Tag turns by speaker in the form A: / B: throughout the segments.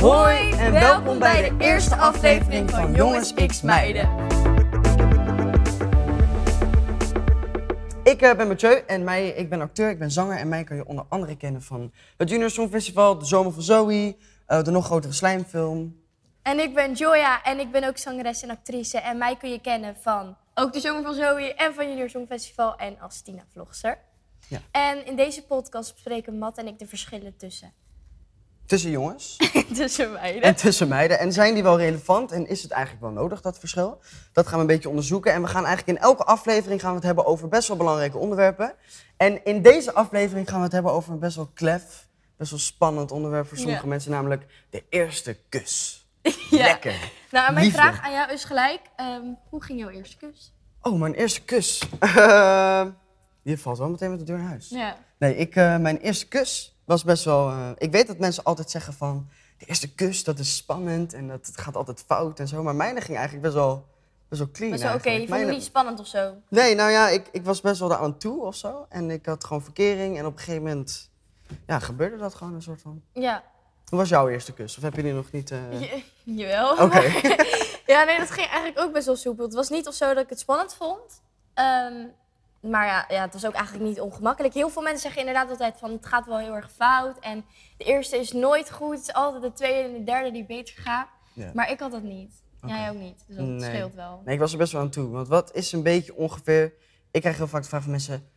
A: Hoi en welkom bij de eerste aflevering van Jongens X Meiden.
B: Ik eh, ben Mathieu en mij, ik ben acteur, ik ben zanger en mij kan je onder andere kennen van het Junior Songfestival, De Zomer van Zoe, eh, de nog grotere slijmfilm.
C: En ik ben Joya en ik ben ook zangeres en actrice. En mij kun je kennen van ook de Zomer van Zoe en van Junior Songfestival en als Tina Vlogster.
B: Ja.
C: En in deze podcast bespreken Matt en ik de verschillen tussen,
B: Tussen jongens
C: tussen meiden.
B: en tussen meiden. En zijn die wel relevant en is het eigenlijk wel nodig, dat verschil? Dat gaan we een beetje onderzoeken. En we gaan eigenlijk in elke aflevering gaan we het hebben over best wel belangrijke onderwerpen. En in deze aflevering gaan we het hebben over een best wel klef, best wel spannend onderwerp voor sommige
C: Ja.
B: mensen, namelijk de eerste kus.
C: Ja.
B: Lekker.
C: Nou, en mijn
B: Liefde.
C: vraag aan jou is gelijk, ehm, hoe ging jouw eerste kus?
B: Oh, mijn eerste kus. Eh, je valt wel meteen met de deur in huis.
C: Ja.
B: Nee, ik, eh, mijn eerste kus was best wel. eh, ik weet dat mensen altijd zeggen van. De eerste kus, dat is spannend en dat het gaat altijd fout en zo. Maar mijne ging eigenlijk best wel, best wel clean.
C: Maar
A: Nou,
C: zo, oké,
B: eigenlijk.
C: je vond het
B: Mijne-
C: niet spannend of zo?
B: Nee, nou ja, ik, ik was best wel aan toe of zo. En ik had gewoon verkering en op een gegeven moment. Ja, gebeurde dat gewoon een soort van.
C: Ja.
B: Hoe was jouw eerste kus? Of heb je die nog niet. eh,
C: Je- jawel.
A: Oh,
B: Oké.
C: Ja, nee, dat ging eigenlijk ook best wel soepel. Het was niet of zo dat ik het spannend vond. Ehm, maar ja, ja, het was ook eigenlijk niet ongemakkelijk. Heel veel mensen zeggen inderdaad altijd van het gaat wel heel erg fout. En de eerste is nooit goed. Het is altijd de tweede en de derde die beter gaan.
B: Ja.
C: Maar ik had dat niet. Jij
B: Oké.
C: ook niet. Dus dat
B: Nee.
C: scheelt wel.
B: Nee, ik was er best wel aan toe. Want wat is een beetje ongeveer. Ik krijg heel vaak de vraag van mensen.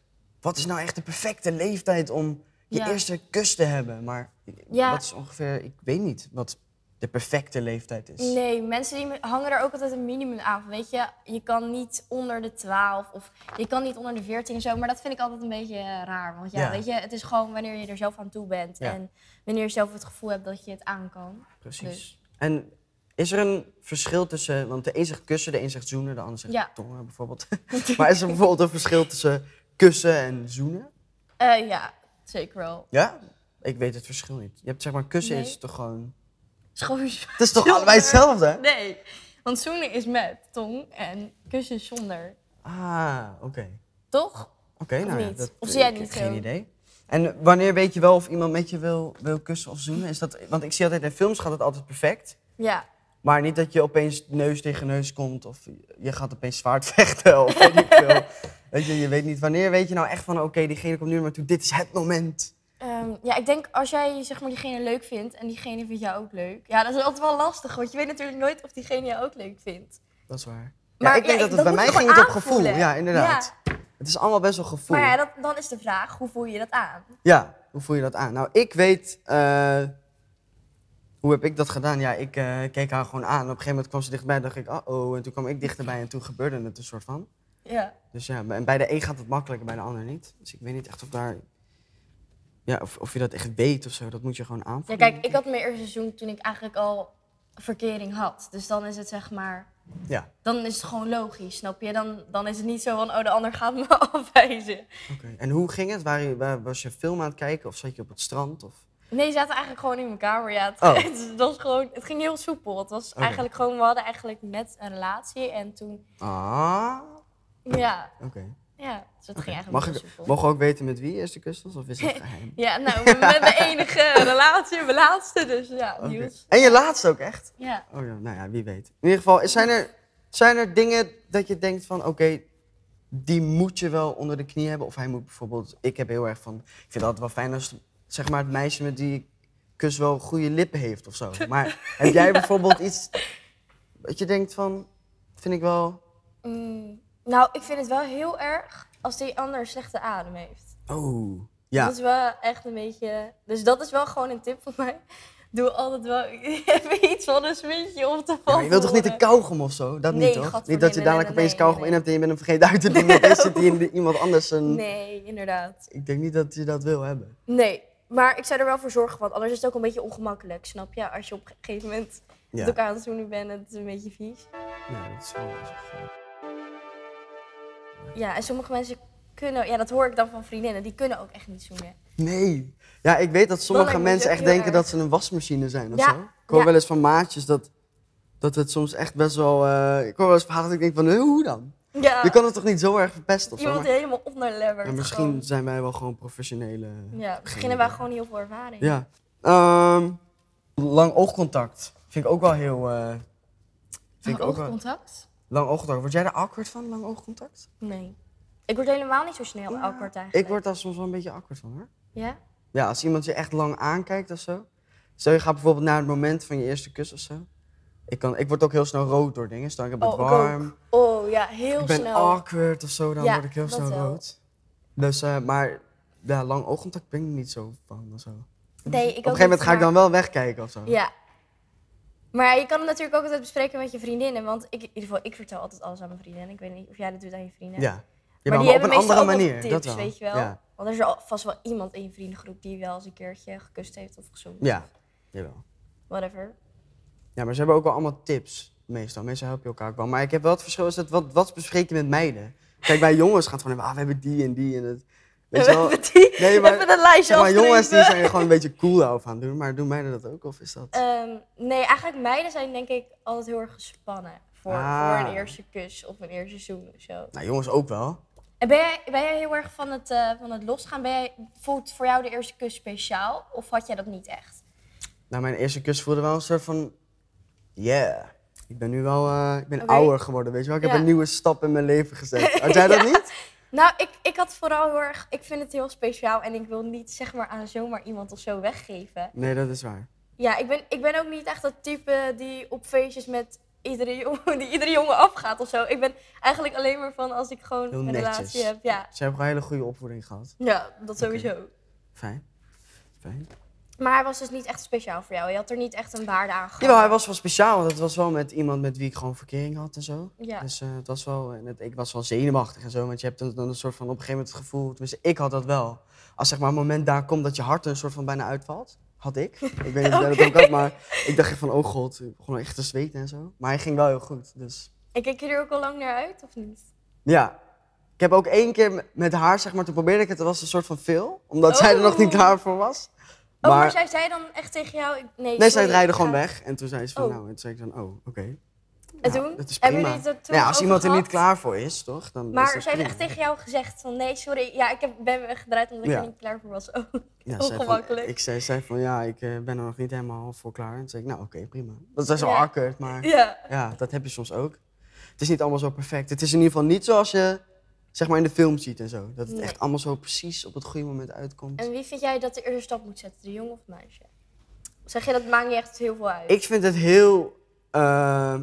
B: Wat is nou echt de perfecte leeftijd om je
C: Ja.
B: eerste kus te hebben? Maar
C: Ja.
B: wat is ongeveer. Ik weet niet wat de perfecte leeftijd is.
C: Nee, mensen die hangen er ook altijd een minimum aan. van, Weet je, je kan niet onder de 12 of je kan niet onder de 14 en zo. Maar dat vind ik altijd een beetje eh, raar. Want ja,
B: Ja.
C: weet je, het is gewoon wanneer je er zelf aan toe bent.
B: Ja.
C: En wanneer je zelf het gevoel hebt dat je het aan kan.
B: Precies.
C: Dus.
B: En is er een verschil tussen. Want de een zegt kussen, de een zegt zoenen, de ander zegt
C: Ja.
B: tongen bijvoorbeeld. maar is er bijvoorbeeld een verschil tussen kussen en zoenen?
C: Eh, ja, zeker wel.
B: Ja? Ik weet het verschil niet. Je hebt zeg maar kussen
C: Nee.
B: is toch gewoon.
C: Schoon.
B: Het is toch allebei hetzelfde? hè?
C: Nee, want zoenen is met tong en kussen is zonder.
B: Ah, oké.
C: Toch?
B: Oké,
C: Of
B: nou ja,
C: niet?
B: dat-
C: Of zie jij
B: ik
C: het
B: heb
C: niet
B: Geen
C: zo?
B: idee. En wanneer weet je wel of iemand met je wil, wil kussen of zoenen? Is dat, want ik zie altijd in films gaat het altijd perfect.
C: Ja.
B: Maar niet dat je opeens neus tegen neus komt of je gaat opeens zwaard vechten of weet ik veel. Weet je, je weet niet. Wanneer weet je nou echt van oké, diegene komt nu naar me toe, dit is het moment.
C: Ehm, ja, ik denk als jij zeg maar, diegene leuk vindt en diegene vindt jou ook leuk. Ja, dat is altijd wel lastig, want je weet natuurlijk nooit of diegene jou ook leuk vindt.
B: Dat is waar. Ja,
C: Maar
B: ik denk
C: ja,
B: dat het bij
C: dat moet
B: mij
C: je
B: ging het
C: gewoon
B: op gevoel.
C: aanvoelen.
B: Ja, inderdaad. Het is allemaal best wel gevoel.
C: Maar ja, dat, dan is de vraag, hoe voel je dat aan?
B: Ja, hoe voel je dat aan? Nou, ik weet. eh, hoe heb ik dat gedaan? Ja, ik eh, keek haar gewoon aan. Op een gegeven moment kwam ze dichtbij. dacht ik, oh, en toen kwam ik dichterbij. En toen gebeurde het een soort van.
C: Ja.
B: Dus ja, en bij de een gaat het makkelijker, bij de ander niet. Dus ik weet niet echt of daar. Ja, of, of je dat echt weet of zo. Dat moet je gewoon
C: ja,
B: aanvoelen.
C: kijk, ik had mijn eerste seizoen toen ik eigenlijk al verkering had. Dus dan is het zeg maar,
B: Ja,
C: dan is het gewoon logisch, snap je? Dan, dan is het niet zo van, oh, de ander gaat me afwijzen.
B: oké. En hoe ging het? Waar, je- waar- was je een film aan het kijken of zat je op het strand? Of...
C: Nee, ze zaten eigenlijk gewoon in mijn kamer. Ja, het,
B: Oh.
C: het was gewoon, het ging heel soepel. Het was
B: Oké.
C: eigenlijk gewoon, we hadden eigenlijk net een relatie en toen,
B: Ah,
C: ja,
B: oké.
C: ja, dus het ging eigenlijk
B: Mag
C: heel
B: ik
C: soepel.
B: mogen we ook weten met wie je eerste kus was? Of is dat geheim?
C: Ja, nou, met de enige relatie, mijn laatste, dus ja,
B: Oké.
C: nieuws.
B: En je laatste ook echt?
C: Ja.
B: Oh ja, nou ja, wie weet. In ieder geval, zijn er, zijn er dingen dat je denkt van, oké, die moet je wel onder de knie hebben? Of hij moet bijvoorbeeld, ik heb heel erg van, ik vind het altijd wel fijn als zeg maar, het meisje met die ik kus wel goede lippen heeft of zo. Maar heb jij bijvoorbeeld iets dat je denkt van, vind ik wel,
C: Mm, nou, ik vind het wel heel erg als die ander een slechte adem heeft.
B: oh, ja.
C: Dat is wel echt een beetje... Dus dat is wel gewoon een tip van mij. Doe altijd wel even iets van een smintje om te
B: Ja,
C: vallen.
B: maar je wilt toch niet een kauwgom of zo? Dat
C: eh, Nee,
B: niet, toch?
C: gadverdikke,
B: Niet dat je
C: nee,
B: dadelijk
C: nee,
B: opeens
C: nee,
B: kauwgom
C: nee.
B: in hebt en je bent hem vergeten uit te doen. want dan zit die in iemand anders een...
C: Nee, inderdaad.
B: Ik denk niet dat je dat wil hebben.
C: Nee, maar ik zou er wel voor zorgen, want anders is het ook een beetje ongemakkelijk, snap je? Als je op een gegeven moment
B: Ja.
C: met elkaar aan het zoenen bent, het is een beetje vies.
B: Ja, dat is wel best wel goed.
C: Ja, en sommige mensen kunnen... Ja, dat hoor ik dan van vriendinnen, die kunnen ook echt niet zoenen.
B: Nee. Ja, ik weet dat sommige
C: lijkt me
B: mensen
C: zo
B: echt
C: heel
B: denken
C: erg.
B: dat ze een wasmachine zijn of
C: Ja,
B: zo. Ik hoor
C: ja.
B: wel eens van maatjes dat, dat het soms echt best wel... eh, ik hoor wel eens verhalen dat ik denk van, "Huh, hoe dan?
C: Ja,
B: Je kan het toch niet zo erg verpesten of zo?
C: iemand
B: Maar,
C: helemaal onderleverd.
B: maar misschien
C: gewoon.
B: zijn wij wel gewoon professionele...
C: Ja,
B: geen
C: misschien hebben wij
B: idee.
C: gewoon heel veel ervaring.
B: Ja. Ehm, Lang oogcontact vind ik ook wel heel... eh, vind ik ook wel-
C: oogcontact?
B: lang oogcontact. Word jij daar awkward van, lang oogcontact?
C: Nee. Ik word helemaal niet zo snel
B: Ja,
C: awkward eigenlijk.
B: Ik word daar soms wel een beetje awkward van, hoor.
C: Ja?
B: Ja, als iemand je echt lang aankijkt of zo. Stel, je gaat bijvoorbeeld naar het moment van je eerste kus of zo. Ik, kan, ik word ook heel snel rood door dingen. Stel, ik heb het
C: Oh, ik ook.
B: warm.
C: Oh ja, heel
B: ik ben
C: snel.
B: awkward of zo, dan
C: Ja,
B: word ik heel
C: dat
B: snel
C: wel.
B: rood. Dus, eh, maar ja, lang oogcontact ben ik niet zo van of zo. Op een
C: Nee, ik ook
B: gegeven moment
C: niet,
B: ga ik
C: maar-
B: dan wel wegkijken of zo.
C: Ja. Maar je kan het natuurlijk ook altijd bespreken met je vriendinnen. Want ik, in ieder geval, ik vertel altijd alles aan mijn vriendinnen. Ik weet niet of jij dat doet aan je vrienden.
B: Ja.
C: maar,
B: Jawel,
C: die
B: op
C: hebben
B: een
C: meestal
B: andere
C: ook nog
B: manier.
C: tips,
B: dat wel.
C: weet je wel.
B: Ja.
C: Want er is al- vast wel iemand in je vriendengroep die wel eens een keertje gekust heeft of gezongen.
B: Ja. Jawel.
C: Whatever.
B: ja, maar ze hebben ook wel allemaal tips meestal. Meestal helpen je elkaar ook wel. Maar ik heb wel het verschil, is dat wat, wat bespreek je met meiden? Kijk, bij jongens gaat het gewoon, ah, we hebben die en die en het. Weet je wel?
C: Even, die,
B: Nee, maar-
C: even een lijstje
B: Zeg maar jongens die
C: afdrinken.
B: zijn er gewoon een beetje cool over aan het doen, maar doen meiden dat ook? Of is dat...
C: Ehm, nee, eigenlijk meiden zijn denk ik altijd heel erg gespannen. Voor,
B: Ah.
C: voor een eerste kus of een eerste zoen of zo.
B: Nou, jongens ook wel.
C: En ben jij, ben jij heel erg van het, eh, van het losgaan? Ben jij, voelt voor jou de eerste kus speciaal? Of had jij dat niet echt?
B: Nou, mijn eerste kus voelde wel een soort van... Yeah. Ik ben nu wel... eh, ik ben
C: Oké.
B: ouder geworden, weet je wel? Ik
C: Ja.
B: heb een nieuwe stap in mijn leven gezet. Had jij dat niet?
C: Nou, ik, ik had vooral heel erg... Ik vind het heel speciaal en ik wil niet zeg maar aan zomaar iemand of zo weggeven.
B: Nee, dat is waar.
C: Ja, ik ben, ik ben ook niet echt dat type die op feestjes met iedere jongen, die iedere jongen afgaat of zo. Ik ben eigenlijk alleen maar van als ik gewoon
B: Heel
C: een
B: netjes.
C: relatie heb. Ja,
B: Ze hebben gewoon een hele goede opvoeding gehad.
C: ja dat sowieso.
B: Fijn. Fijn.
C: Maar hij was dus niet echt speciaal voor jou. Je had er niet echt een waarde aan
B: Jawel,
C: gegeven.
B: hij was wel speciaal. Want het was wel met iemand met wie ik gewoon verkering had en zo.
C: Ja.
B: Dus eh, het was wel... en het- ik was wel zenuwachtig en zo. Want je hebt dan dan een soort van op een gegeven moment het gevoel... Tenminste, ik had dat wel. Als zeg maar een moment daar komt dat je hart er een soort van bijna uitvalt. Had ik. Ik weet niet of jij dat ook had, maar ik dacht echt van... Oh god, ik begon echt te zweten en zo. Maar hij ging wel heel goed, dus...
C: En kijk je er ook al lang naar uit, of niet?
B: Ja. Ik heb ook één keer m- met haar, zeg maar, toen probeerde ik het. Dat was een soort van veel, omdat zij er nog niet
C: Oh.
B: klaar voor was.
C: Oh, maar
B: Maar-
C: zij zei dan echt tegen jou... ik- Nee,
B: Nee, zij
C: sorry,
B: draaide
C: ik
B: gewoon
C: ga-
B: weg. En toen zei ze van,
C: Oh.
B: nou, en toen zei ik dan, oh, oké.
C: En
B: Nou,
C: toen?
B: dat is
C: Hebben
B: prima.
C: jullie het er toen
B: Nou ja, als
C: over
B: iemand er
C: gehad?
B: niet klaar voor is, toch? Dan is
C: Maar
B: dat
C: zij heeft echt
B: prima.
C: tegen jou gezegd van... Nee, sorry, ja, ik heb, ben weggedraaid omdat ik
B: Ja.
C: er niet klaar voor was. Oh.
B: Ja, zei van-
C: ongemakkelijk.
B: ik zei, zei van, ja, ik eh, ben er nog niet helemaal voor klaar. En toen zei ik, nou, oké, prima. Dat is wel
C: Ja.
B: awkward, maar
C: Ja.
B: ja, dat heb je soms ook. Het is niet allemaal zo perfect. Het is in ieder geval niet zoals je, zeg maar, in de film ziet en zo. Dat het
C: Nee.
B: echt allemaal zo precies op het goede moment uitkomt.
C: En wie vind jij dat de eerste stap moet zetten? De jongen of het meisje? Zeg je dat maakt niet echt heel veel uit?
B: Ik vind het heel. eh,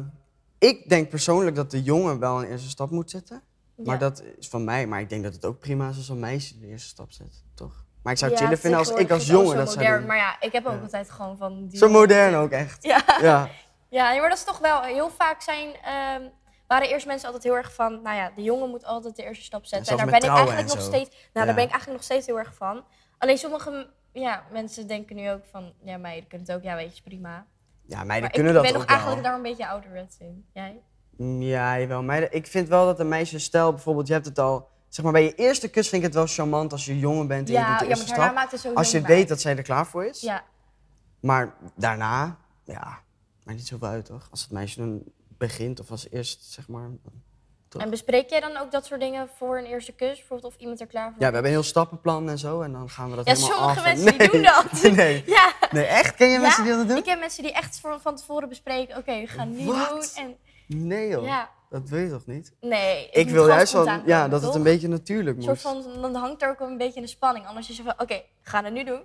B: ik denk persoonlijk dat de jongen wel een eerste stap moet zetten.
C: Ja.
B: Maar dat is van mij. Maar ik denk dat het ook prima is als een meisje de eerste stap zet, toch? Maar ik zou
C: Ja,
B: het chillen vinden als ik
C: tegenwoordig
B: als
C: is het al
B: jongen
C: zo
B: dat zou
C: modern,
B: doen.
C: Maar ja, ik heb ook
B: Ja.
C: altijd gewoon van... Die
B: Zo modern ook echt.
C: Ja.
B: Ja.
C: Ja, nee, maar dat is toch wel heel vaak zijn. ehm, waren eerst mensen altijd heel erg van, nou ja, de jongen moet altijd de eerste stap zetten.
B: zelfs
C: en daar
B: met
C: ben ik
B: trouwen
C: eigenlijk nog
B: en zo.
C: steeds. Nou, daar
B: Ja.
C: ben ik eigenlijk nog steeds heel erg van. Alleen sommige m- ja, mensen denken nu ook van, ja, meiden kunnen het ook, ja, weet je, prima.
B: Ja, meiden
C: maar
B: kunnen
C: ik
B: dat
C: ben
B: ook
C: nog
B: wel. Mm,
C: eigenlijk daar een beetje ouderwets in. Jij?
B: Ja, jawel. Meiden, ik vind wel dat een meisje, stel bijvoorbeeld, je hebt het al... Zeg maar, bij je eerste kus vind ik het wel charmant als je jongen bent en je doet
C: Ja,
B: de
C: ja,
B: eerste
C: maar daarna
B: stap.
C: maakt het zo.
B: Als je weet dat zij er klaar voor is.
C: Ja,
B: Maar daarna, ja, maar niet zoveel uit toch? Als het meisje dan begint of als eerst, zeg maar.
C: en bespreek jij dan ook dat soort dingen voor een eerste kus? Bijvoorbeeld of iemand er klaar voor
B: Ja, we hebben een heel stappenplan en zo en dan gaan we dat
C: Ja,
B: helemaal
C: sommige
B: af. en-
C: mensen die doen dat.
B: Nee,
C: Ja.
B: nee, echt? Ken je mensen
C: Ja,
B: die dat doen?
C: Ik ken mensen die echt voor- van tevoren bespreken, oké, we gaan nu
B: Wat?
C: doen. En,
B: Nee joh,
C: ja.
B: dat wil je toch niet?
C: Nee,
B: Ik wil juist wel, ja, dat het een
C: beetje
B: beetje natuurlijk moet.
C: soort van, dan hangt er ook een beetje een spanning. Anders is je van, oké, we gaan het nu doen.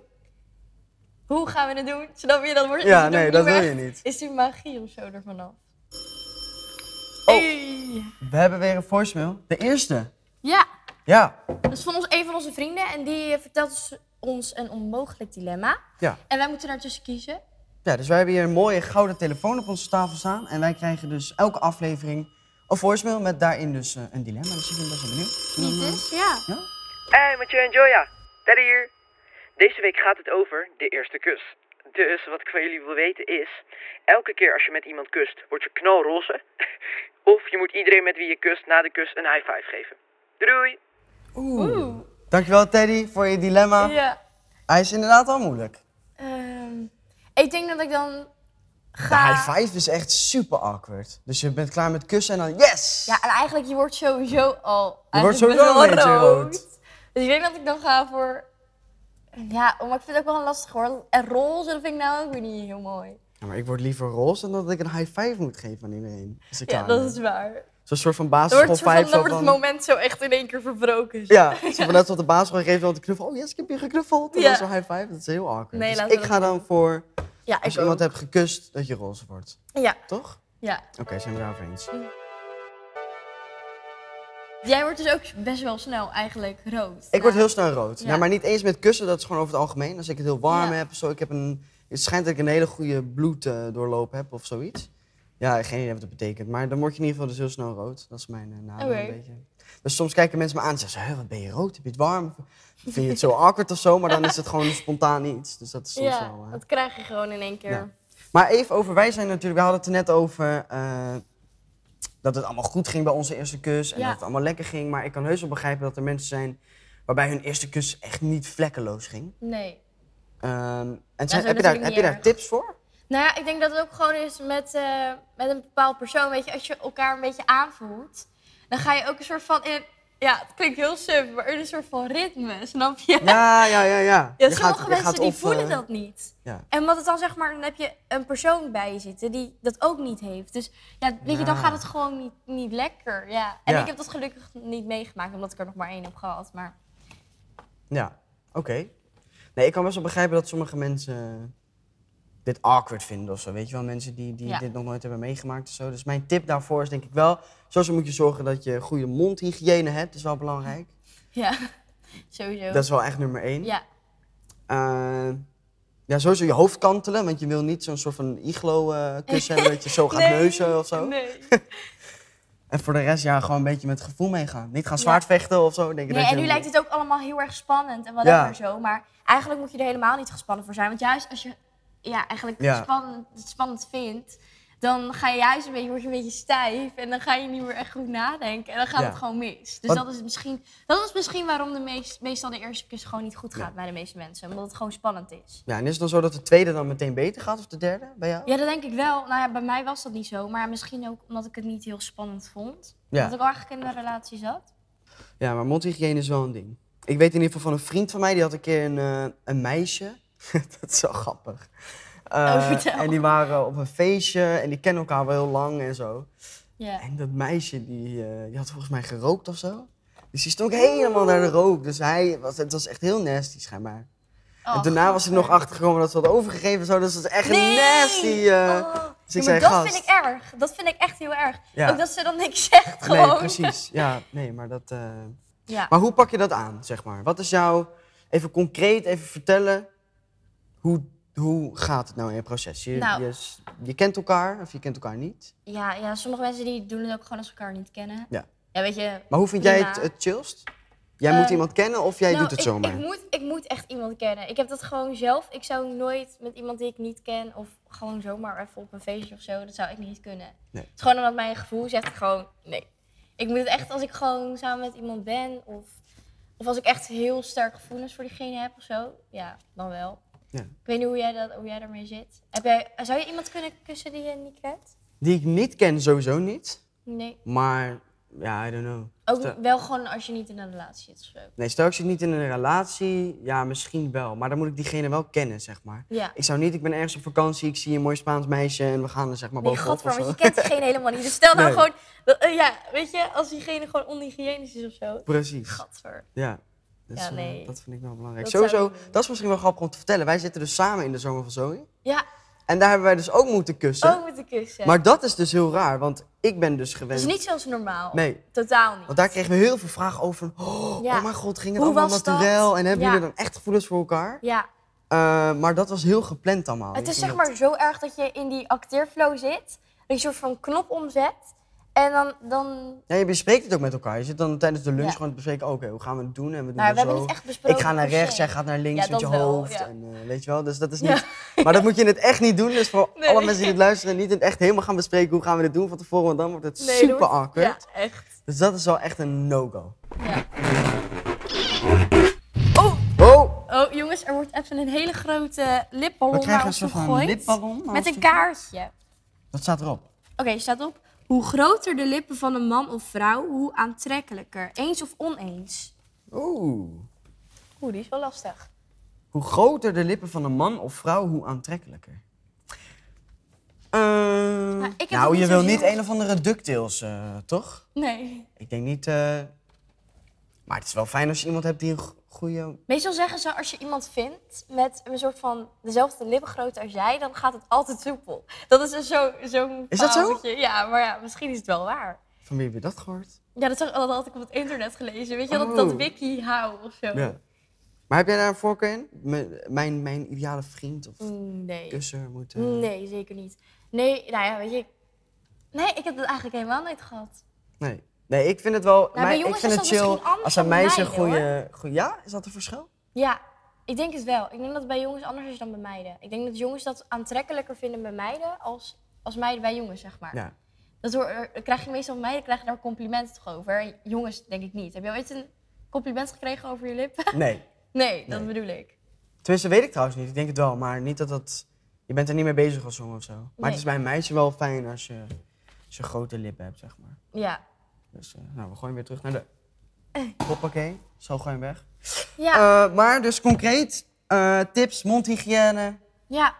C: Hoe gaan we het doen? Zodat je dan wordt
B: Ja,
C: is het ook
B: nee,
C: niet
B: dat
C: meer
B: wil je
C: echt-
B: niet.
C: Is die magie of zo ervan af?
B: Oh.
C: Hey.
B: We hebben weer een voicemail. De eerste.
C: Ja,
B: Ja.
C: dat is van ons, een van onze vrienden en die eh, vertelt ons- ons een onmogelijk dilemma.
B: Ja.
C: En wij moeten daartussen kiezen.
B: ja, dus wij hebben hier een mooie gouden telefoon op onze tafel staan. En wij krijgen dus elke aflevering een voicemail met daarin dus eh, een dilemma. Dus ik ben best wel benieuwd. Zullen we
C: Niet
B: hem, eh,
C: is, ja.
B: Ja?
D: Hey, Mathieu en Joya. Teddy hier. Deze week gaat het over de eerste kus. Dus wat ik van jullie wil weten is... Elke keer als je met iemand kust, word je knalroze. of je moet iedereen met wie je kust na de kus een high five geven. Doei doei!
B: Oeh. Dankjewel Teddy voor je dilemma.
C: Ja.
B: Hij is inderdaad al moeilijk.
C: Ehm, ik denk dat ik dan
B: De
C: ga...
B: high five is echt super awkward. Dus je bent klaar met kussen en dan yes!
C: Ja, en eigenlijk, je wordt sowieso al
B: Je wordt
C: eigenlijk
B: sowieso
C: best wel
B: een beetje rood.
C: Dus ik denk dat ik dan ga voor Ja, maar ik vind het ook wel lastig hoor. En roze dat vind ik nou ook weer niet heel mooi.
B: Ja, maar ik word liever roze dan dat ik een high five moet geven aan iedereen. Als ik
C: Ja,
B: klaar
C: dat
B: ben.
C: is waar.
B: Zo'n soort van
C: Dan wordt,
B: basisschool
C: het soort van,
B: vibe.
C: dan
B: zo
C: wordt het
B: van-
C: moment zo echt in één keer verbroken.
B: Ja, zo van net zoals de basisschool geeft dan te knuffelen. Oh yes, ik heb je geknuffeld. En
C: Ja.
B: dan zo'n high five. Dat is heel awkward.
C: Nee,
B: Dus
C: laten we
B: ik
C: dat
B: ga
C: niet
B: dan voor,
C: ja
B: als je
C: ik ook.
B: iemand hebt gekust, dat je roze wordt.
C: Ja,
B: Toch?
C: ja.
B: Oké, zijn we daarover eens.
C: Jij wordt dus ook best wel snel eigenlijk rood.
B: Ik word heel snel rood.
C: Ja.
B: Nou, maar niet eens met kussen, dat is gewoon over het algemeen. Als ik het heel warm
C: Ja.
B: heb, zo, ik heb een, het schijnt dat ik een hele goede bloed eh, doorloop heb of zoiets. Ja, geen idee wat dat betekent. Maar dan word je in ieder geval dus heel snel rood. Dat is mijn eh, nadeel
C: Oké.
B: een beetje. Dus soms kijken mensen me aan en zeggen ze, "Hè, wat ben je rood? Heb je het warm? Of Vind je het zo awkward of zo? Maar dan is het gewoon spontaan iets. Dus dat is soms
C: Ja,
B: wel... eh.
C: dat krijg je gewoon in één keer.
B: Ja. Maar even over, wij zijn natuurlijk, we hadden het er net over eh, dat het allemaal goed ging bij onze eerste kus en
C: Ja.
B: dat het allemaal lekker ging. Maar ik kan heus wel begrijpen dat er mensen zijn waarbij hun eerste kus echt niet vlekkeloos ging.
C: Nee.
B: Ehm, en zijn,
C: zo
B: heb, je daar,
C: natuurlijk
B: heb
C: niet
B: je daar
C: erg.
B: tips voor?
C: Nou ja, ik denk dat het ook gewoon is met, eh, met een bepaald persoon. Weet je, als je elkaar een beetje aanvoelt, dan ga je ook een soort van in. Ja, het klinkt heel suf, maar in een soort van ritme, snap je?
B: Ja, ja, ja, ja.
C: Ja,
B: Je
C: sommige
B: gaat- je
C: mensen
B: gaat
C: die
B: op,
C: voelen
B: eh,
C: dat niet.
B: ja.
C: En wat het dan zeg maar, dan heb je een persoon bij je zitten die dat ook niet heeft. Dus ja, weet je, dan
B: Ja.
C: gaat het gewoon niet, niet lekker. Ja. En
B: Ja.
C: ik heb dat gelukkig niet meegemaakt, omdat ik er nog maar één heb gehad. Maar
B: Ja, oké. Nee, ik kan best wel begrijpen dat sommige mensen dit awkward vinden of zo. Weet je wel, mensen die, die
C: Ja.
B: dit nog nooit hebben meegemaakt of zo. Dus mijn tip daarvoor is denk ik wel, sowieso moet je zorgen dat je goede mondhygiëne hebt. Dat is wel belangrijk.
C: ja, sowieso.
B: Dat is wel echt nummer één.
C: Ja,
B: Eh, ja, sowieso je hoofd kantelen, want je wil niet zo'n soort van iglo-kus hebben dat je zo gaat
C: Nee.
B: neuzen of zo.
C: nee.
B: En voor de rest, ja, gewoon een beetje met het gevoel meegaan. Niet gaan
C: Ja.
B: zwaardvechten of zo. Denk ik
C: Nee,
B: dat
C: en nu lijkt het ook allemaal heel erg spannend en whatever
B: Ja.
C: zo. Maar eigenlijk moet je er helemaal niet gespannen voor zijn. Want juist als je ja, eigenlijk
B: Ja.
C: Spannend, het spannend vindt, dan ga je juist een beetje, word je een beetje stijf. En dan ga je niet meer echt goed nadenken. En dan gaat
B: Ja.
C: het gewoon mis. Dus
B: Wat-
C: dat is, misschien, dat is misschien waarom de meest, meestal de eerste keer gewoon niet goed gaat bij de meeste mensen. Omdat het gewoon spannend is.
B: Ja, en is het dan zo dat de tweede dan meteen beter gaat of de derde bij jou?
C: Ja, dat denk ik wel. Nou ja, bij mij was dat niet zo. Maar misschien ook omdat ik het niet heel spannend vond.
B: Ja.
C: Dat ik al eigenlijk in een relatie zat.
B: Ja, maar mondhygiëne is wel een ding. Ik weet in ieder geval van een vriend van mij, die had een keer een, eh, een meisje. dat is wel grappig. Eh,
C: Oh, vertel.
B: en die waren op een feestje en die kennen elkaar wel heel lang en zo.
C: Ja.
B: En dat meisje, die, eh, die had volgens mij gerookt of zo. Dus die stonk helemaal naar de rook. Dus hij was, het was echt heel nasty schijnbaar. en
C: Och,
B: daarna was hij nog
C: gadver.
B: achtergekomen dat ze had overgegeven. en Zo, dus dat is echt een
C: Nee!
B: nasty. eh,
C: Oh.
B: Dus ik
C: Ja,
B: zei,
C: maar dat
B: gast.
C: vind ik erg. Dat vind ik echt heel erg.
B: Ja.
C: Ook dat ze dan niks zegt gewoon.
B: Nee, precies. Ja, nee, maar dat... eh,
C: Ja.
B: Maar hoe pak je dat aan, zeg maar? Wat is jouw... Even concreet, even vertellen. Hoe, hoe gaat het nou in je proces? Je,
C: Nou.
B: je, s- je kent elkaar of je kent elkaar niet.
C: Ja, ja, sommige mensen die doen het ook gewoon als ze elkaar niet kennen.
B: Ja.
C: Ja, weet je.
B: Maar hoe vind jij het,
C: prima.
B: het chillst? Jij moet
C: Eh,
B: iemand kennen of jij
C: Nou,
B: doet het
C: ik,
B: zomaar?
C: Ik moet, ik moet echt iemand kennen. Ik heb dat gewoon zelf. Ik zou nooit met iemand die ik niet ken of gewoon zomaar even op een feestje of zo, dat zou ik niet kunnen.
B: Nee.
C: Het is gewoon omdat mijn gevoel zegt gewoon nee. Ik moet het echt als ik gewoon samen met iemand ben of, of als ik echt heel sterk gevoelens voor diegene heb of zo. Ja, dan wel.
B: Ja.
C: Ik weet niet hoe jij, dat, hoe jij daarmee zit. Heb jij, zou je iemand kunnen kussen die je niet kent?
B: Die ik niet ken, sowieso niet.
C: Nee.
B: Maar, ja, I don't know.
C: Ook
B: Stel-
C: wel gewoon als je niet in een relatie zit of zo.
B: Nee, stel ik zit niet in een relatie, ja, misschien wel. Maar dan moet ik diegene wel kennen, zeg maar.
C: Ja.
B: Ik zou niet, ik ben ergens op vakantie, ik zie een mooi Spaans meisje en we gaan er zeg maar
C: Nee,
B: bovenop of
C: godver, want
B: zo.
C: je kent diegene helemaal niet. Dus stel nou
B: Nee.
C: gewoon, dat, eh, ja, weet je, als diegene gewoon onhygiënisch is of zo.
B: Precies.
C: Gadver.
B: Ja. Dus,
C: Ja,
B: eh,
C: nee.
B: dat vind ik wel belangrijk.
C: Dat zou ik
B: Sowieso,
C: niet doen.
B: dat is misschien wel grappig om te vertellen. Wij zitten dus samen in de zomer van Zoe.
C: Ja,
B: En daar hebben wij dus ook moeten kussen.
C: ook met de kussen.
B: Maar dat is dus heel raar, want ik ben dus
C: dat
B: gewend.
C: is niet zoals normaal.
B: Nee.
C: Totaal niet.
B: Want daar kregen we heel veel vragen over. Oh,
C: Ja.
B: oh mijn god, ging het
C: Hoe
B: allemaal
C: was dat?
B: naturel? En hebben
C: Ja.
B: jullie dan echt gevoelens voor elkaar?
C: Ja,
B: Eh, maar dat was heel gepland allemaal.
C: het
B: Ik
C: is
B: vind
C: zeg
B: dat-
C: maar zo erg dat je in die acteerflow zit. Dat je een soort van knop omzet. En dan, Nou, dan
B: Ja, je bespreekt het ook met elkaar. Je zit dan tijdens de lunch
C: Ja.
B: gewoon te bespreken, oké, hoe gaan we het doen? En we doen
C: Nou,
B: het
C: we hebben
B: zo.
C: niet echt besproken
B: Ik ga naar
C: per se.
B: rechts, jij gaat naar links
C: Ja,
B: met je
C: dat wel,
B: hoofd.
C: ja.
B: En, eh, weet je wel, dus dat is niet...
C: Ja.
B: Maar dat moet je in het echt niet doen. Dus voor
C: Nee.
B: alle mensen die het luisteren, niet in het echt helemaal gaan bespreken hoe gaan we dit doen van tevoren. Want dan wordt het
C: Nee,
B: super
C: dat wordt-
B: awkward.
C: Ja, echt.
B: Dus dat is wel echt een no-go.
C: Ja.
B: Oh!
C: Oh, jongens, er wordt even een hele grote
B: We
C: lipballon
B: krijgen
C: naar
B: een
C: ons toe
B: soort van
C: gegooid.
B: lipballon naar
C: Met
B: ons
C: een kaartje.
B: Wat staat erop?
C: Oké, staat op. Hoe groter de lippen van een man of vrouw, hoe aantrekkelijker. Eens of oneens.
B: Oeh.
C: Oeh, die is wel lastig.
B: Hoe groter de lippen van een man of vrouw, hoe aantrekkelijker. Eh,
C: ik heb
B: nou,
C: het
B: je
C: niet
B: wil
C: zo
B: niet
C: heel-
B: een of andere DuckTales, eh, toch?
C: Nee.
B: Ik denk niet... eh, Maar het is wel fijn als je iemand hebt die een go- goede...
C: Meestal zeggen ze, als je iemand vindt met een soort van dezelfde lippengrootte als jij, dan gaat het altijd soepel. Dat is dus zo- zo'n zo
B: Is dat zo?
C: Ja, maar ja, misschien is het wel waar.
B: Van wie heb je dat gehoord?
C: Ja, dat, zag, dat had ik op het internet gelezen. Weet je, dat,
B: Oh.
C: dat wiki hou of zo.
B: Ja. Maar heb jij daar een voorkeur in? M- mijn, mijn ideale vriend of
C: Nee.
B: kusser moet... eh,
C: Nee, zeker niet. Nee, nou ja, weet je. ik- Nee, ik heb dat eigenlijk helemaal nooit gehad.
B: Nee. Nee, ik vind het wel...
C: Nou, bij
B: mij- ik
C: jongens
B: vind
C: is
B: het
C: dat
B: chill
C: misschien anders
B: als een
C: dan bij
B: meisje
C: meiden,
B: goede... goede- Ja? Is dat een verschil?
C: Ja, ik denk het wel. Ik denk dat het bij jongens anders is dan bij meiden. Ik denk dat jongens dat aantrekkelijker vinden bij meiden als, als meiden bij jongens, zeg maar.
B: Ja.
C: Dat hoor, er- dat krijg je meestal bij meiden, krijg je daar complimenten toch over. En jongens, denk ik niet. Heb je ooit een compliment gekregen over je lippen?
B: Nee.
C: Nee, dat
B: Nee.
C: bedoel ik.
B: Tenminste, weet ik trouwens niet. Ik denk het wel, maar niet dat dat... Je bent er niet mee bezig als jongen of zo. Maar
C: Nee.
B: het is bij een meisje wel fijn als je, als je grote lippen hebt, zeg maar.
C: Ja.
B: Dus eh, nou, we gooien weer terug naar de... Hoppakee, zo gooi je hem weg.
C: Eh. Ja,
B: Eh, maar dus concreet, eh, tips, mondhygiëne.
C: ja.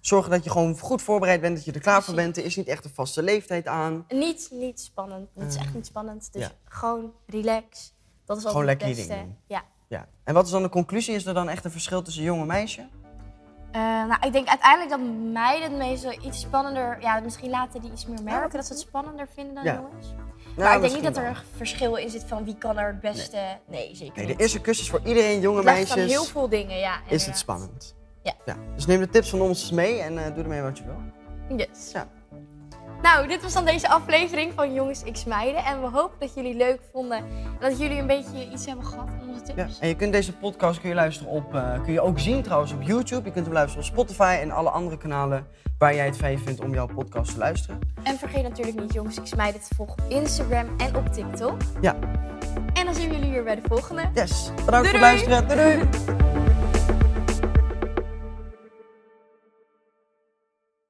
B: Zorgen dat je gewoon goed voorbereid bent, dat je er klaar voor
C: Precies.
B: bent. Er is niet echt een vaste leeftijd aan.
C: Niet, niet spannend. Het is echt niet spannend. Dus
B: Eh. ja.
C: gewoon relax. Dat is altijd
B: Gewoon lekker je
C: het beste.
B: ding doen.
C: Ja.
B: Ja. En wat is dan de conclusie? Is er dan echt een verschil tussen jong en meisje?
C: Eh, nou, ik denk uiteindelijk dat meiden het meestal iets spannender... Ja, misschien laten die iets meer merken dat ze het spannender vinden dan
B: Ja.
C: jongens.
B: Nou,
C: maar ik denk
B: misschien
C: niet dat er
B: wel.
C: een verschil in zit van wie kan er het beste... Nee, zeker
B: Nee,
C: niet.
B: de eerste kus is voor iedereen, jonge
C: Het ligt van
B: meisjes.
C: heel veel dingen, ja.
B: is het
C: inderdaad.
B: spannend.
C: Ja.
B: Dus neem de tips van ons mee en eh, doe ermee wat je wil.
C: Yes.
B: Ja.
C: Nou, dit was dan deze aflevering van Jongens X Meiden. En we hopen dat jullie het leuk vonden. En dat jullie een beetje iets hebben gehad aan onze
B: Ja.
C: tips.
B: En je kunt deze podcast kun je luisteren op, eh, kun je ook zien trouwens op YouTube. Je kunt hem luisteren op Spotify en alle andere kanalen waar jij het fijn vindt om jouw podcast te luisteren.
C: En vergeet natuurlijk niet Jongens X Meiden te volgen op Instagram en op TikTok.
B: Ja,
C: En dan zien we jullie weer bij de volgende.
B: yes. Bedankt voor
C: doei.
B: het luisteren. Doei doei!